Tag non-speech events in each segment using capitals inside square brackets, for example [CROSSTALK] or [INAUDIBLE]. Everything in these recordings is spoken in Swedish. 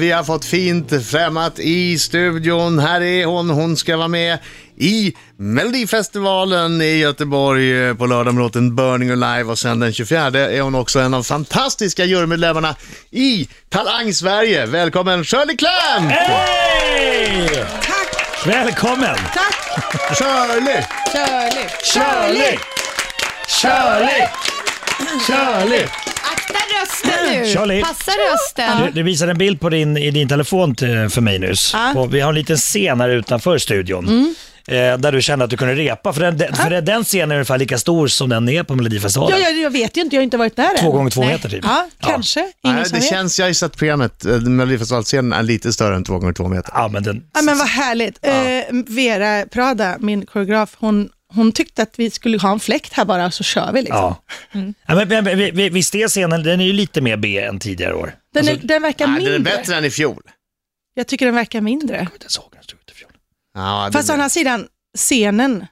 Vi har fått fint främmat i studion. Här är hon. Hon ska vara med i Melodifestivalen i Göteborg eh, på lördag med låten Burning Alive och sen den 24 är hon också en av fantastiska jurymedlemmarna i Talang Sverige. Välkommen Shirley Clamp! Hej! Tack, Välkommen! tack, Shirley! Shirley. Shirley! Shirley! Shirley! Akta rösten nu. Shirley. Passa rösten. Du, du visade en bild på din, i din telefon till, för mig nyss. Ja. Mm. Och vi har en liten scen här utanför studion. Eh, där du kände att du kunde repa. För den, den- för den scenen är ungefär lika stor som den är på Ja, Melodifestivalen. ja, jag vet ju inte, jag har inte varit där Två än. gånger två Nej. meter typ. Ja, kanske. Ingen Nej, som det vet. känns, jag har ju sett programmet, Eh, Melodifestivalscenen är lite större än 2x2 meter. Ja, men den, Ja, men vad härligt. Eh, Vera Prada, min koreograf, hon, hon tyckte att vi skulle ha en fläkt här bara, så kör vi liksom. ja. Ja, men, men, men, vi- vi- visst är scenen, den är ju lite mer B än tidigare år. Den, Alltså, är, den verkar Nej, den mindre. är bättre än i fjol. Jag tycker den verkar mindre. Jag såg den stod utifrån. Ja, Fast å den- andra sidan, scenen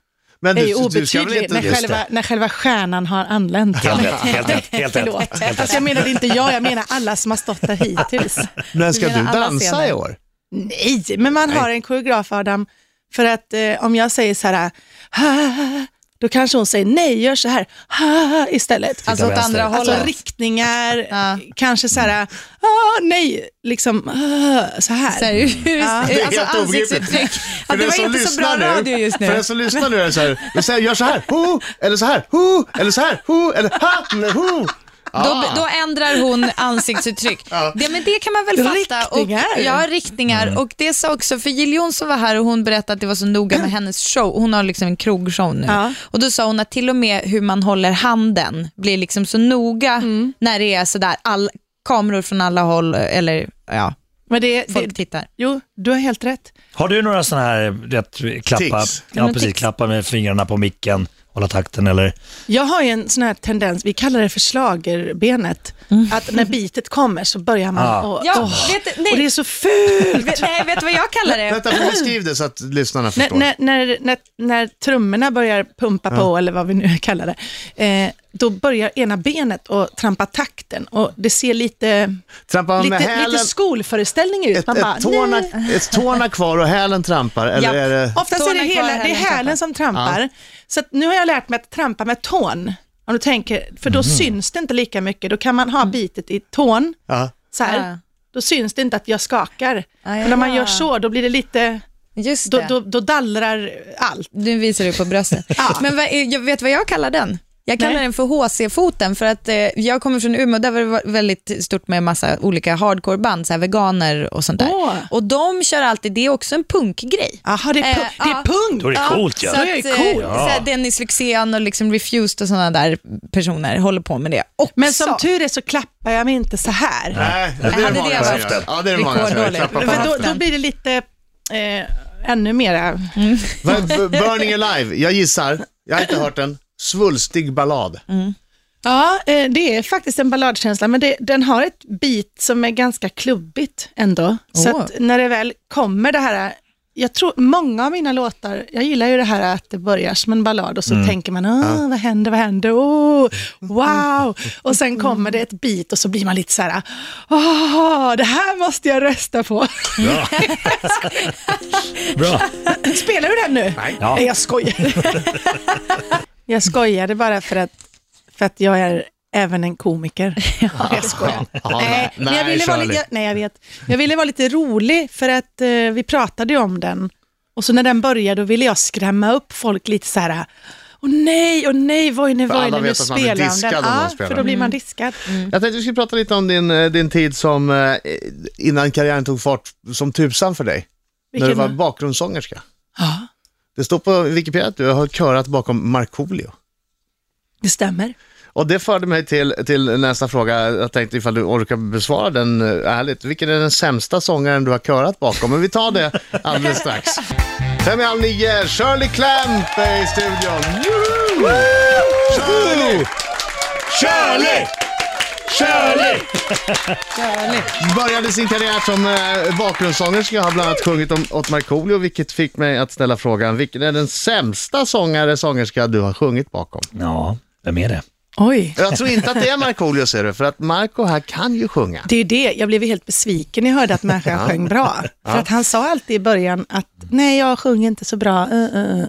Men är ju du, du ska väl obetydlig inte... när Just det. själva, när själva stjärnan har anlänt. Helt rätt, helt rätt, helt rätt. Förlåt. Alltså, jag menade inte jag, jag menar alla som har stått där hittills. När ska Vi du gör alla dansa scener. i år? Nej, men man har en koreograf Adam. För att eh, om jag säger så här, "Ah", då kanske hon säger nej, gör så här "Ah", istället. Alltså åt vänster. andra Alltså hållet. riktningar, Ja. kanske så här, ah, nej, liksom ah, så här. Så här, hur- Det är alltså helt obegripligt. ansiktsuttryck. Ja, det den var som inte så bra lyssnar nu- radio just nu. För den som lyssnar nu är det så här, jag säger, gör så här, ho, eller så här, ho, eller så här, ho, eller ha, Ah. eller ho. Då, då ändrar hon ansiktsuttryck. det, men det kan man väl fatta. Riktningar. Och, ja, riktningar. Och det sa också, för Jill Johnson var här och hon berättade att det var så noga med hennes show. Hon har liksom en krogshow nu. Ja. Och då sa hon att till och med hur man håller handen blir liksom så noga när det är sådär all, kameror från alla håll eller ja, Men det, folk det, tittar. jo, du har helt rätt. Har du några sådana här rätt, klappa, Tics. ja, precis, klappa med fingrarna på micken, hålla takten eller? Jag har ju en sån här tendens, vi kallar det för slagerbenet, att när bitet kommer så börjar man Ah. och, Mm. Ja, åh, vet, nej, och det är så [LAUGHS] fult. vet, nej, vet du vad jag kallar det? Vänta, får beskriv det så att lyssnarna när, förstår. när, när, när, när trummorna börjar pumpa på, eller vad vi nu [LAUGHS] kallar det, eh, då börjar ena benet att trampa takten och det ser lite, Trampar man med lite, hälen, lite skolföreställning ut. ett, ett, tårna, nej. ett tårna kvar och hälen trampar, eller Japp. är det... Oftast är det, Tårna kvar, hela, det är hälen trampar. hälen som trampar. Så att nu har jag lärt mig att trampa med tån. Om du tänker, för då syns det inte lika mycket. Då kan man ha bitet i tån, Ja. så här. Ah. Då syns det inte att jag skakar. Ah, Men när man ja. gör så, då blir det lite, Just då, det. då, då dallrar allt. Nu visar du på bröstet. Men vad, jag vet vad jag kallar den? Jag kallar Nej. den för HC-foten för att eh, jag kommer från Umeå, där var det väldigt stort med massa olika hardcoreband, så här veganer och sånt där. Åh. Och de kör alltid, det är också en punkgrej. Jaha, det är, Eh, pu- det är ja. punkt. Då är det coolt ju. så Det är att, ju eh, coolt. så här, Dennis Lyxzén och liksom Refused och sådana där personer håller på med det också. Men som tur är så klappar jag mig inte så här. Nej, det är hade det det många som varit gör. Ja, det är det många som gör. rekorddåligt. Klappar på För då, handen. då blir det lite eh, ännu mera. Vad- b- Burning Alive, jag gissar, jag har inte hört den, svulstig ballad. Mm. Ja, eh, det är faktiskt en balladkänsla, men det, den har ett bit som är ganska klubbigt ändå. Så Åh. att när det väl kommer det här, jag tror många av mina låtar, jag gillar ju det här att det börjar som en ballad och så tänker man, Åh, vad händer, vad händer, oh, wow. Och sen kommer det ett bit och så blir man lite så här, åh, det här måste jag rösta på. Bra. Bra. Spelar du den nu? Nej. Ja. jag skojar. [LAUGHS] jag skojade bara för att, för att jag är även en [LAUGHS] komiker. jag skojar. Ja, Nej, men jag ville vara Shirley. lite, jag, nej, jag vet. Jag ville vara lite rolig för att eh, vi pratade ju om den. Och så när den började då ville jag skrämma upp folk lite så här. Åh nej, åh nej, Voine, För alla Voine, nu vet att man blir spelar han diskad den. om man Ja, spelar för då den. blir man diskad. Jag tänkte vi skulle prata lite om din, eh, din tid som, eh, innan karriären tog fart, som tusan för dig. När du Vilken- var bakgrundssångerska. Ja, Det står på Wikipedia att du har körat bakom Markoolio. det stämmer. Och det förde mig till, till nästa fråga. Jag tänkte ifall du orkar besvara den eh, ärligt. Vilken är den sämsta sångaren du har körat bakom? Men vi tar det alldeles strax. Fem i halv nio, Shirley Clamp är i studion. Juhu! Shirley! Shirley! Shirley! Började sin karriär som eh, bakgrundssångerska. Jag har bland annat sjungit om, åt Markoolio, vilket fick mig att ställa frågan. Vilken är den sämsta sångare, sångerska du har sjungit bakom? Ja, vem är det? Oj. Jag tror inte att det är Markoolio ser du, för att Marco här kan ju sjunga. Det är ju det, jag blev ju helt besviken när jag hörde [LAUGHS] att människan sjöng bra. För att han sa alltid i början att nej, jag sjunger inte så bra. Uh, uh, uh.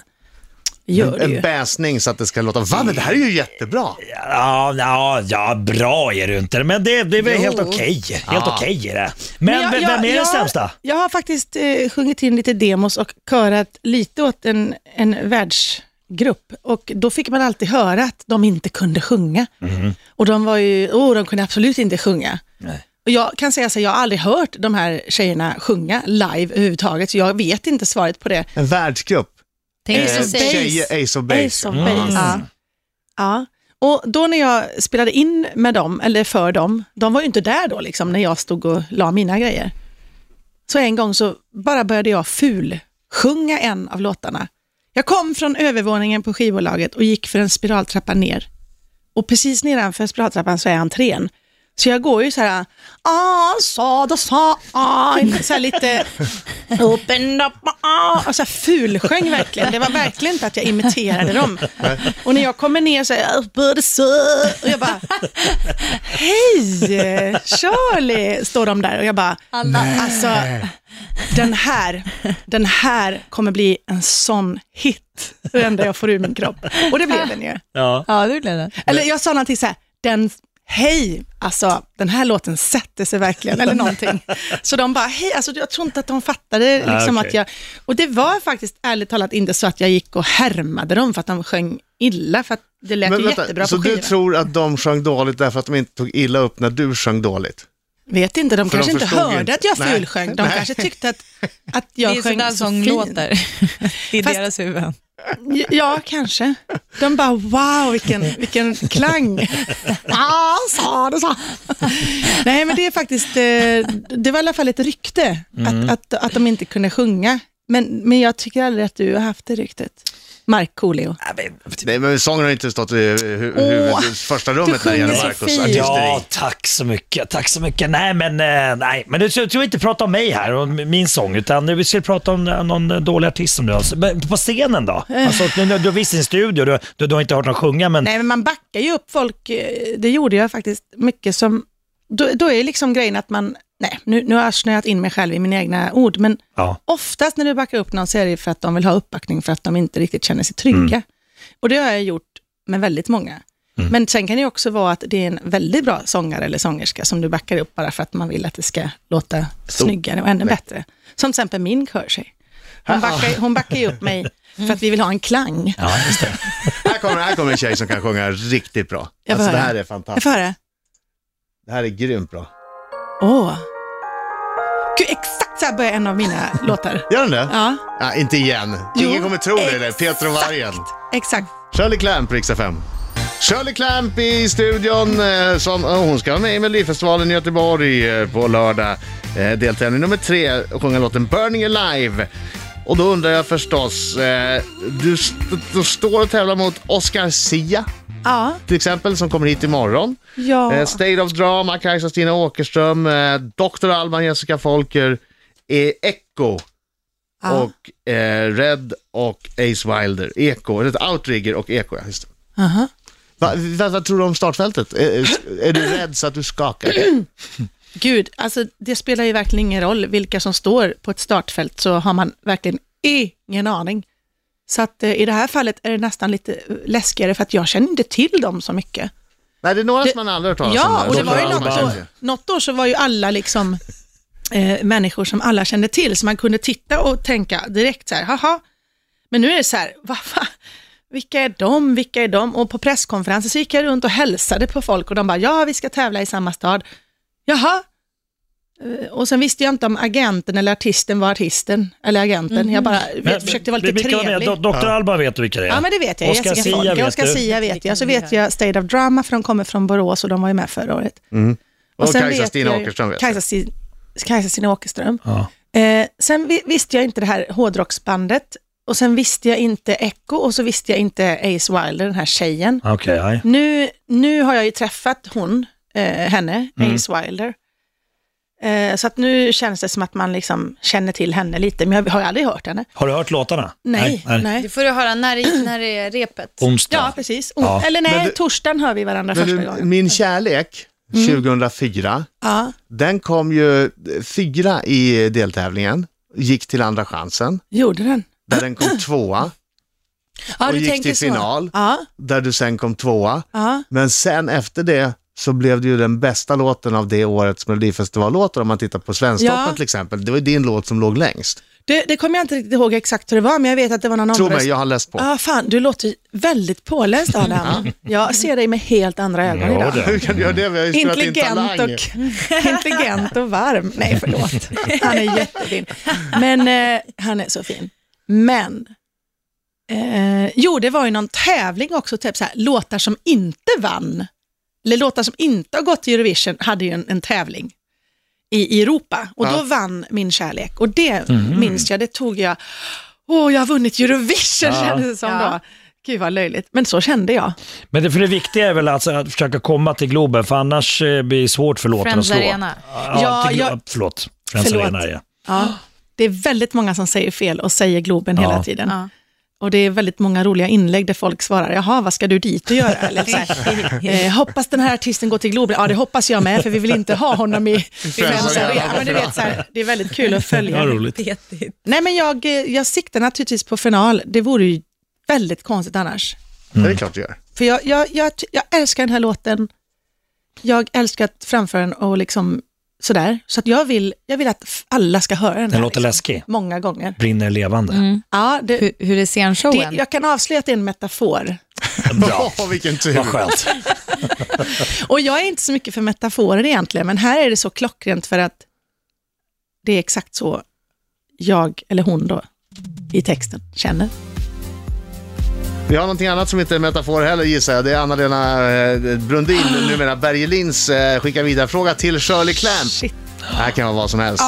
Gör det En ju. bäsning så att det ska låta, va men det här är ju jättebra. Ja, ja, ja, bra är det inte, men det, det är väl Jo. helt okej. Helt Ja. okej är det. Men, jag- vem jag- vem är den jag- sämsta? Jag har faktiskt eh, sjungit in lite demos och körat lite åt en, en världsgrupp och då fick man alltid höra att de inte kunde sjunga. Mm-hmm. Och de var ju, oh, de kunde absolut inte sjunga. Nej. Och jag kan säga så här, jag har aldrig hört de här tjejerna sjunga live överhuvudtaget, så jag vet inte svaret på det. En världsgrupp. Eh, Tänk Ace så of Base. säg. Tjejer, Ace of Base. Mm. Ace of Base. Ja. Mm. ja. Och då när jag spelade in med dem, eller för dem, de var ju inte där då liksom när jag stod och la mina grejer. Så en gång så bara började jag ful sjunga en av låtarna. Jag kom från övervåningen på skivbolaget och gick för en spiraltrappa ner. Och precis nedanför spiraltrappan så är entrén. Så jag går ju så här, ah, sa, då sa, ah, så här lite, open up, ah, och så här fulsjöng verkligen. Det var verkligen inte att jag imiterade dem. Och när jag kommer ner så här, "Upper the sun", och jag bara, hej, Charlie, står de där och jag bara, Alla- alltså, den här, den här kommer bli en sån hit. Det enda jag får ur min kropp. Och det blev den ju. Ja. Ja, det blev det. Eller jag sa någonting så här, den, hej, alltså den här låten sätter sig verkligen, [LAUGHS] eller någonting. Så de bara, hej, alltså jag tror inte att de fattade liksom Ah, okej. att jag, och det var faktiskt ärligt talat inte så att jag gick och härmade dem för att de sjöng illa, för att det lät Men ju vänta, jättebra så på du skivan. tror att de sjöng dåligt därför att de inte tog illa upp när du sjöng dåligt? Vet inte, de För de kanske inte förstod ju hörde inte. att jag Nej. fulsjöng, de Nej. kanske tyckte att, att Det jag är sjöng sådär så sång fint. låter. Det är Fast- deras huvuden. Ja, kanske. De bara, wow, vilken, vilken [LAUGHS] klang. Ah, sa det, sa. Nej, men det är faktiskt, eh, det var i alla fall ett rykte, att, att, att de inte kunde sjunga. Men, men jag tycker aldrig att du har haft det ryktet. Markoolio. Ja, men- Nej, men sången har inte stått i hu- hu- huvudet, i första rummet när det gäller sjunger så Marcos fint. artisteri. Ja, tack så mycket. Tack så mycket. Nej, men, eh, nej, men du ska inte prata om mig här och min sång, utan vi ska prata om eh, någon dålig artist som du har. Men På scenen då? Alltså, nu- nu- du har visst en studio, du, du, du har inte hört någon sjunga, men Eh. Nej, men man backar ju upp folk. eh, Det gjorde jag faktiskt mycket som, då, då är liksom grejen att man, nej, nu, nu har jag snöat in mig själv i mina egna ord, men ja. Oftast när du backar upp någon så är det för att de vill ha uppbackning för att de inte riktigt känner sig trygga. Och det har jag gjort med väldigt många. Men sen kan det ju också vara att det är en väldigt bra sångare eller sångerska som du backar upp bara för att man vill att det ska låta snyggare och ännu bättre. Som till exempel min körsej. Hon backar, hon backar ju upp mig för att vi vill ha en klang. ja, just det. Här, kommer, här kommer en tjej som kan sjunga riktigt bra. Jag Alltså, får det höra. här är Jag fantastiskt. får höra. Det här är grymt bra. Åh. Gud, exakt så här börjar en av mina låtar. Gör den det? Ja, Ja, inte igen. Jo, Ingen kommer tro det. där. Peter och exakt. vargen. exakt. Shirley Clamp, Rix FM. Shirley Clamp i studion. eh, Som, oh, hon ska vara med i Melodifestivalen i Göteborg eh, på lördag. Eh, Deltävling nummer tre, och sjunga låten Burning Alive. Och då undrar jag förstås, eh, du, st- du står och tävlar mot Oscar Sia Ja, till exempel som kommer hit imorgon. ja. Eh, State of Drama, Kajsa Stina Åkerström, eh, Dr. Alban, Jessica Folker, eh, Echo Ja. och eh, Red och Ace Wilder. Eko, eller Outrigger och Eko, ja, just det. Aha. Va, va, vad tror du om startfältet? Är, är- är du rädd så att du skakar? Gud, alltså det spelar ju verkligen ingen roll vilka som står på ett startfält så har man verkligen ingen aning. Så att eh, i det här fallet är det nästan lite eh, läskigare för att jag känner inte till dem så mycket. Nej, det är några Det- som man aldrig hört talas om. Ja, där. och det Dr. var ju Alban, något år, kanske. något år så var ju alla liksom eh, människor som alla kände till, så man kunde titta och tänka direkt så här, haha. Men nu är det så här, vad fan, vilka är de, vilka är de? Och på presskonferenser så gick jag runt och hälsade på folk och de bara, ja vi ska tävla i samma stad. Jaha. Eh, Och sen visste jag inte om agenten eller artisten var artisten, eller agenten. Jag bara vet, försökte vara lite vilka var med? trevlig. Do- Dr. Alban vet du vilka det är? Ja, men det vet jag. Oscar Jessica Sia Folke, vet Oscar du. Sia vet jag. Så vet jag State of Drama, för de kommer från Borås och de var ju med förra året. Och sen Kajsa vet Stina jag ju- Åkerström vet Kajsa, Sti- Kajsa Stina Åkerström. Ja. Eh, sen vi, visste jag inte det här hårdrocksbandet och sen visste jag inte Echo och så visste jag inte Ace Wilder, den här tjejen. Okej, nej. Mm. Nu, nu har jag ju träffat hon, eh, henne, Ace Wilder. Eh, så att nu känns det som att man liksom känner till henne lite, men jag har ju aldrig hört henne. Har du hört låtarna? Nej, nej. Det får du höra när, det- när det är repet. Onsdag? Ja, precis. O- Ja. Eller Men nej, du- torsdagen hör vi varandra Men första du, gången. Mm. min kärlek 2004, Ja, den kom ju fyra i deltävlingen, gick till andra chansen, gjorde den. där den [GASPS] kom tvåa, Ja, Och du gick tänker till så. final. Ja, där du sen kom tvåa. ja. Men sen efter det så blev det ju den bästa låten av det årets Melodifestivallåtar om man tittar på Svensktoppen Ja. till exempel. Det var ju din låt som låg längst. Det, det kommer jag inte riktigt ihåg exakt hur det var, men jag vet att det var någon Tro mig, omröstning. jag har läst på. Ja, ah, fan, du låter ju väldigt påläst Adam. jag ser dig med helt andra ögon Ja, idag. det. Hur kan du göra det? Vi har ju spelat in Intelligent Talang. och, [LAUGHS] intelligent och varm. Nej, förlåt. Han är jättefin. Men eh, han är så fin. Men, eh, jo, det var ju någon tävling också, typ så här, låtar som inte vann, eller låtar som inte har gått till Eurovision, hade ju en, en tävling i, i Europa. Och Ja. då vann Min kärlek. Och det minns jag, det tog jag, åh, jag har vunnit Eurovision, Ja. kändes det som Ja. då. Gud vad löjligt, men så kände jag. Men det, för det viktiga är väl alltså att försöka komma till Globen, för annars eh, blir det svårt för låten att Friends slå. Arena. Ja, Ja, till, Glo- jag- Förlåt, Friends Förlåt. Arena ja. Ja. Det är väldigt många som säger fel och säger Globen Ja. hela tiden. Ja. Och det är väldigt många roliga inlägg där folk svarar, jaha, vad ska du dit och göra? [LAUGHS] Eller så här, eh, hoppas den här artisten går till Globen. Ja, det hoppas jag med, för vi vill inte ha [LAUGHS] honom i Friends Arena. Ja, men du vet, så här, Det är väldigt kul att följa. roligt. Petigt. Nej, men jag, eh, jag siktar naturligtvis på final. Det vore ju väldigt konstigt annars. Mm. Det är klart du gör. För jag, jag, jag, ty- jag älskar den här låten. Jag älskar att framföra den och liksom sådär. Så att jag, vill, jag vill att f- alla ska höra den. här, Den låter liksom. läskig. Många gånger. Brinner levande. Ja, det, Hur, hur är det, scenshowen? jag kan avslöja att det är en metafor. Mm. Bra. [LAUGHS] Åh, vilken tur. Vad skönt. Och jag är inte så mycket för metaforer egentligen, men här är det så klockrent för att det är exakt så jag, eller hon då, i texten känner. Vi har någonting annat som inte är metafor heller gissar jag. Det är Anna-Lena eh, Ah. Brundin, numera Bergelins, eh, skicka vidare fråga till Shirley Clamp. Shit. Här kan vara vad som helst.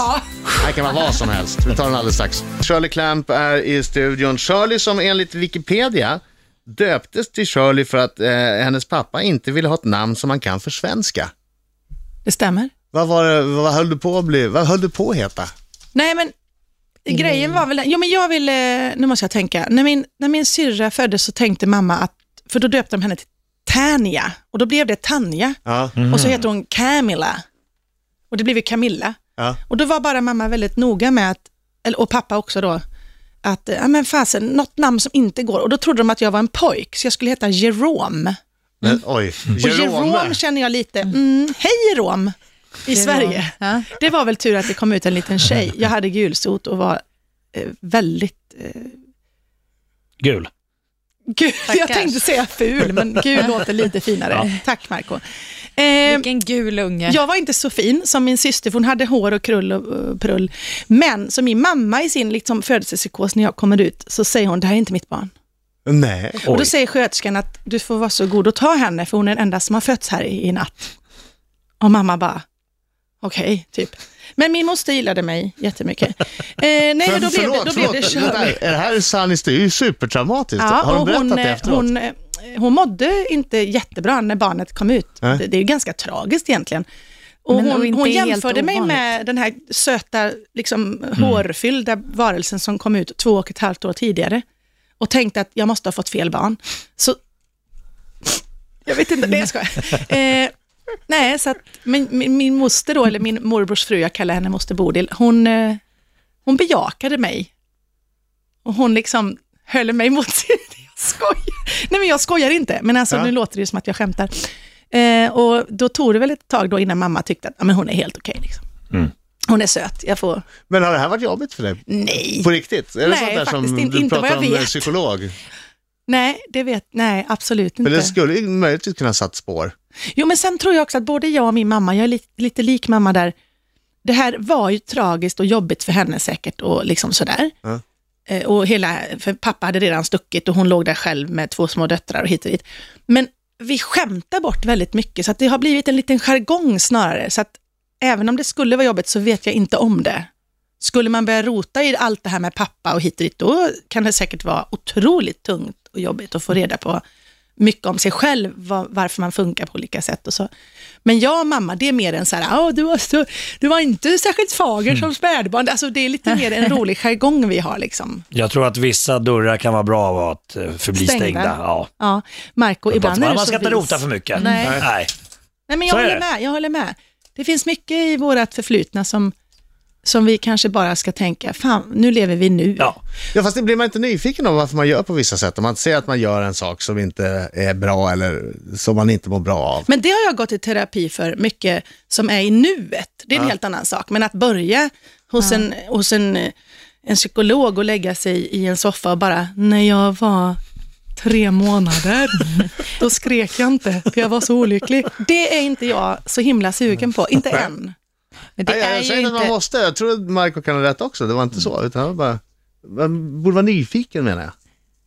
Här kan vara vad som helst. Vi tar den alldeles strax. Shirley Clamp är i studion. Shirley som enligt Wikipedia döptes till Shirley för att eh, hennes pappa inte ville ha ett namn som man kan försvenska. Det stämmer. Vad, var det, vad höll du på att bli? Vad höll du på att heta? Nej, men Mm. grejen var väl, jo men jag ville, nu måste jag tänka, när min, när min syrra föddes så tänkte mamma att, för då döpte de henne till Tania, och då blev det Tanja, Ja, Mm. Mm. och så heter hon Camilla, och det blev ju Camilla. ja. Och då var bara mamma väldigt noga med att, eller, och pappa också då, att eh, ja, men fasen, något namn som inte går. Och då trodde de att jag var en pojk, så jag skulle heta Jerome. Men, oj, Och Jerome Jerome. känner jag lite, mm, hej Jerome, i Sverige. Ja. Det var väl tur att det kom ut en liten tjej. Jag hade gulsot och var eh, väldigt... Eh, Gul. gul, [LAUGHS] jag Stackars. tänkte säga ful, men gul låter lite finare. Tack Marco. Eh, Vilken gul unge. Jag var inte så fin som min syster, för hon hade hår och krull och och prull. Men som min mamma i sin liksom, födelsepsykos, när jag kommer ut, så säger hon, det här är inte mitt barn. Nej. Och Oj. då säger sköterskan att du får vara så god och ta henne, för hon är den enda som har fötts här i, i natt. Och mamma bara, okej, typ. Men min moster gillade mig jättemycket. Eh, nej, men då blev det, då blev det Vänta, Shirley. är det här är sann historia? Det är ju supertraumatiskt. har de och berättat hon, det eh, efteråt? Hon, eh, hon mådde inte jättebra när barnet kom ut. Nej. Det, det är ju ganska tragiskt egentligen. Och Men- och hon, inte hon helt jämförde mig ovanligt. med den här söta, liksom, hårfyllda varelsen som kom ut två och ett halvt år tidigare och tänkte att jag måste ha fått fel barn. Så... Jag vet inte, nej jag skojar. Eh, nej, så att min, min, min moster då, eller min morbrors fru, jag kallar henne moster Bodil, hon, eh, hon bejakade mig. Och hon liksom höll mig mot [LAUGHS] sin... Jag skojar. Nej men jag skojar inte, men alltså Ja. nu låter det ju som att jag skämtar. Eh, och då tog det väl ett tag då innan mamma tyckte att ja, men hon är helt okej. liksom. Mm. Hon är söt, jag får... Men har det här varit jobbigt för dig? Nej. På riktigt? Är det Nej, sånt där som faktiskt inte- du inte vad pratar jag om med vet. psykolog? Nej, det vet... Nej, absolut inte. Men det skulle ju möjligtvis kunna satt spår. Jo, men sen tror jag också att både jag och min mamma, jag är lite, lite lik mamma där, det här var ju tragiskt och jobbigt för henne säkert och liksom sådär. Ja. Eh, Och hela, för pappa hade redan stuckit och hon låg där själv med två små döttrar och hit och dit. Men vi skämtar bort väldigt mycket, så att det har blivit en liten jargong snarare. Så att även om det skulle vara jobbigt så vet jag inte om det. Skulle man börja rota i allt det här Mm. med pappa och hit och dit, då kan det säkert vara otroligt tungt och jobbigt att få reda på mycket om sig själv, va- varför man funkar på olika sätt och så. Men jag och mamma, det är mer en så här, "Åh, du, var så, du var inte särskilt fager Mm. som spädbarn. Alltså, det är lite mer en [LAUGHS] rolig jargong vi har. Liksom. Jag tror att vissa dörrar kan vara bra av att eh, förbli stängda. Ja. Ja, Marco, ibland är man du man så ska inte vis. rota för mycket. Nej. Nej. Nej, men jag Så är håller det. med. Jag håller med. Det finns mycket i vårt förflutna som, som vi kanske bara ska tänka, fan, nu lever vi nu. Ja. Ja, fast det blir man inte nyfiken om varför man gör på vissa sätt. Om man ser att man gör en sak som inte är bra eller som man inte mår bra av. Men det har jag gått i terapi för mycket som är i nuet. Det är en helt annan sak. Men att börja hos, en, hos en, en psykolog och lägga sig i en soffa och bara, när jag var tre månader, då skrek jag inte, för jag var så olycklig. Det är inte jag så himla sugen på, inte än. Nej, Men det är jag säger ju inte att man inte... måste. Jag tror att Marco kan ha rätt också. Det var inte så. Utan jag bara, man borde vara nyfiken menar jag.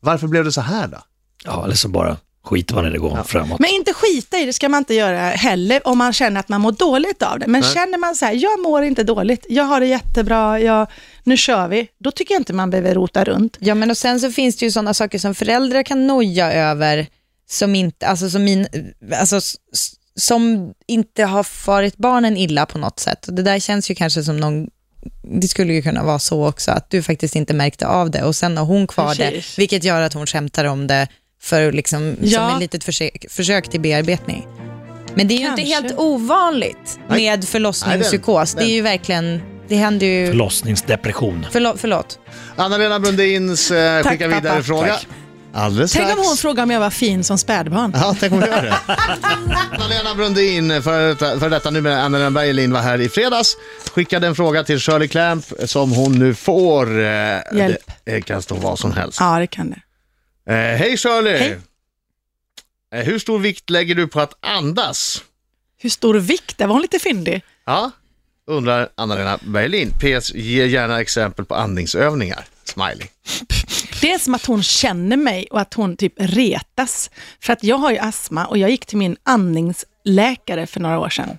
Varför blev det så här då? ja, eller så bara skiter man i det och går framåt. Men inte skita i det ska man inte göra heller om man känner att man mår dåligt av det. Men Nej. känner man så här, jag mår inte dåligt, jag har det jättebra, jag, nu kör vi. Då tycker jag inte man behöver rota runt. Ja, men och sen så finns det ju sådana saker som föräldrar kan noja över som inte, alltså som, min, alltså, s- s- som inte har farit barnen illa på något sätt. Och Det där känns ju kanske som någon det skulle ju kunna vara så också att du faktiskt inte märkte av det och sen har hon kvar Precis. det, vilket gör att hon skämtar om det för liksom, Ja. som ett litet försök, försök till bearbetning. Men det är ju inte Kanske. helt ovanligt Nej. med förlossningspsykos. Nej, den- Det är ju verkligen, det händer ju... Förlossningsdepression. Förlo- förlåt. Anna-Lena Brundins eh, Tack, skicka vidare pappa. fråga. Tack. Alldeles Tänk om strax. hon frågar om jag var fin som spädbarn. Ja, tänk om hon gör [LAUGHS] det. Anna-Lena Brundin, för detta, för detta numera Anna-Lena Bergelin, var här i fredags. Skickade en fråga till Shirley Clamp som hon nu får. Eh, Hjälp. Det, det kan stå vad som helst. Ja, det kan det. Eh, hej Shirley! Hej. Eh, hur stor vikt lägger du på att andas? Hur stor vikt? Där var hon lite fyndig. Ja, undrar Anna-Lena Bergelin. PS, ge gärna exempel på andningsövningar. Smiley. Det är som att hon känner mig och att hon typ retas. För att jag har ju astma och jag gick till min andningsläkare för några år sedan.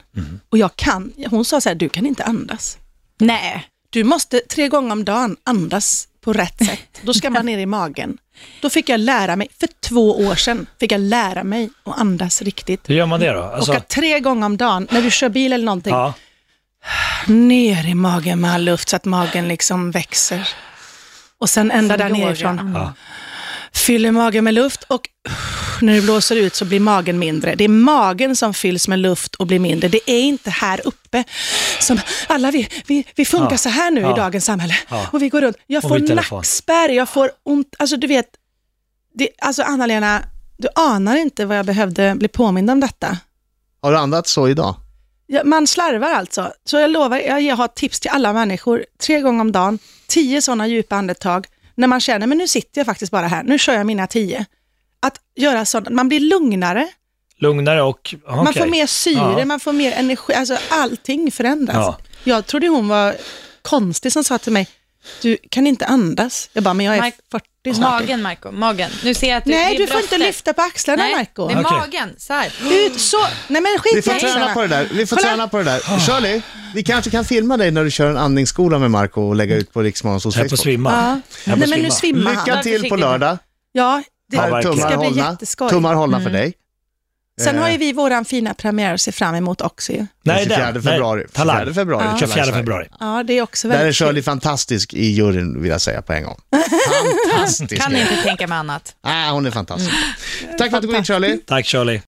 Och jag kan, hon sa så här, du kan inte andas. Nej. Du måste tre gånger om dagen andas på rätt sätt. Då ska man ner i magen. Då fick jag lära mig, för två år sedan fick jag lära mig att andas riktigt. Hur gör man det då? Alltså, Och att tre gånger om dagen, när du kör bil eller någonting, ja. ner i magen med all luft så att magen liksom växer. Och sen ända där Förlora. nerifrån. Fyller magen med luft och när du blåser ut så blir magen mindre. Det är magen som fylls med luft och blir mindre. Det är inte här uppe som alla vi, vi, vi funkar Ja. så här nu Ja. i dagens samhälle. Ja. Och vi går runt. Jag Och får vid telefon. nackspärr, jag får ont. Alltså du vet, det, alltså Anna-Lena, du anar inte vad jag behövde bli påmind om detta. Har du andats så idag? Ja, man slarvar alltså. Så jag lovar, jag ger- har tips till alla människor, tre gånger om dagen, tio sådana djupa andetag, när man känner, men nu sitter jag faktiskt bara här, nu kör jag mina tio. Att göra sådant, man blir lugnare, Lugnare och... Okay. man får mer syre, Ja. man får mer energi, alltså allting förändras. Ja. Jag trodde hon var konstig som sa till mig, du kan inte andas. Jag bara, men jag är Mike- 40 snart. Magen, Marco. Magen. Nu ser jag att du, Nej, det du är får inte bröstet. lyfta på axlarna, Nej, Marco. det är Okej. magen. Så här. Ut, så, nej men Vi skit får i träna axlarna. på det där. Vi får Kolla. träna på det där. Shirley, vi kanske kan filma dig när du kör en andningsskola med Marco och lägga ut på Riksmorgons hos Jag höll på att Facebook. svimma. Ja. Jag Nej får men svimma. nu svimmar han. Lycka till på lördag. Ja, det, Ja, Här, verkligen. tummar Det ska bli hållna. jätteskoj. Tummar hållna för dig. Sen har Eh, ju vi våran fina premiär att se fram emot också ju. den 24 februari. Nej, talang. 24 februari. Talang 24 Sverige. februari. Ja, det är också Där är väldigt Shirley fantastisk i juryn vill jag säga på en [LAUGHS] gång. Fantastisk. Ah, Kan inte tänka mig annat. Mm. Nej, hon är fantastisk. Tack för att du kom hit Shirley. Tack Shirley.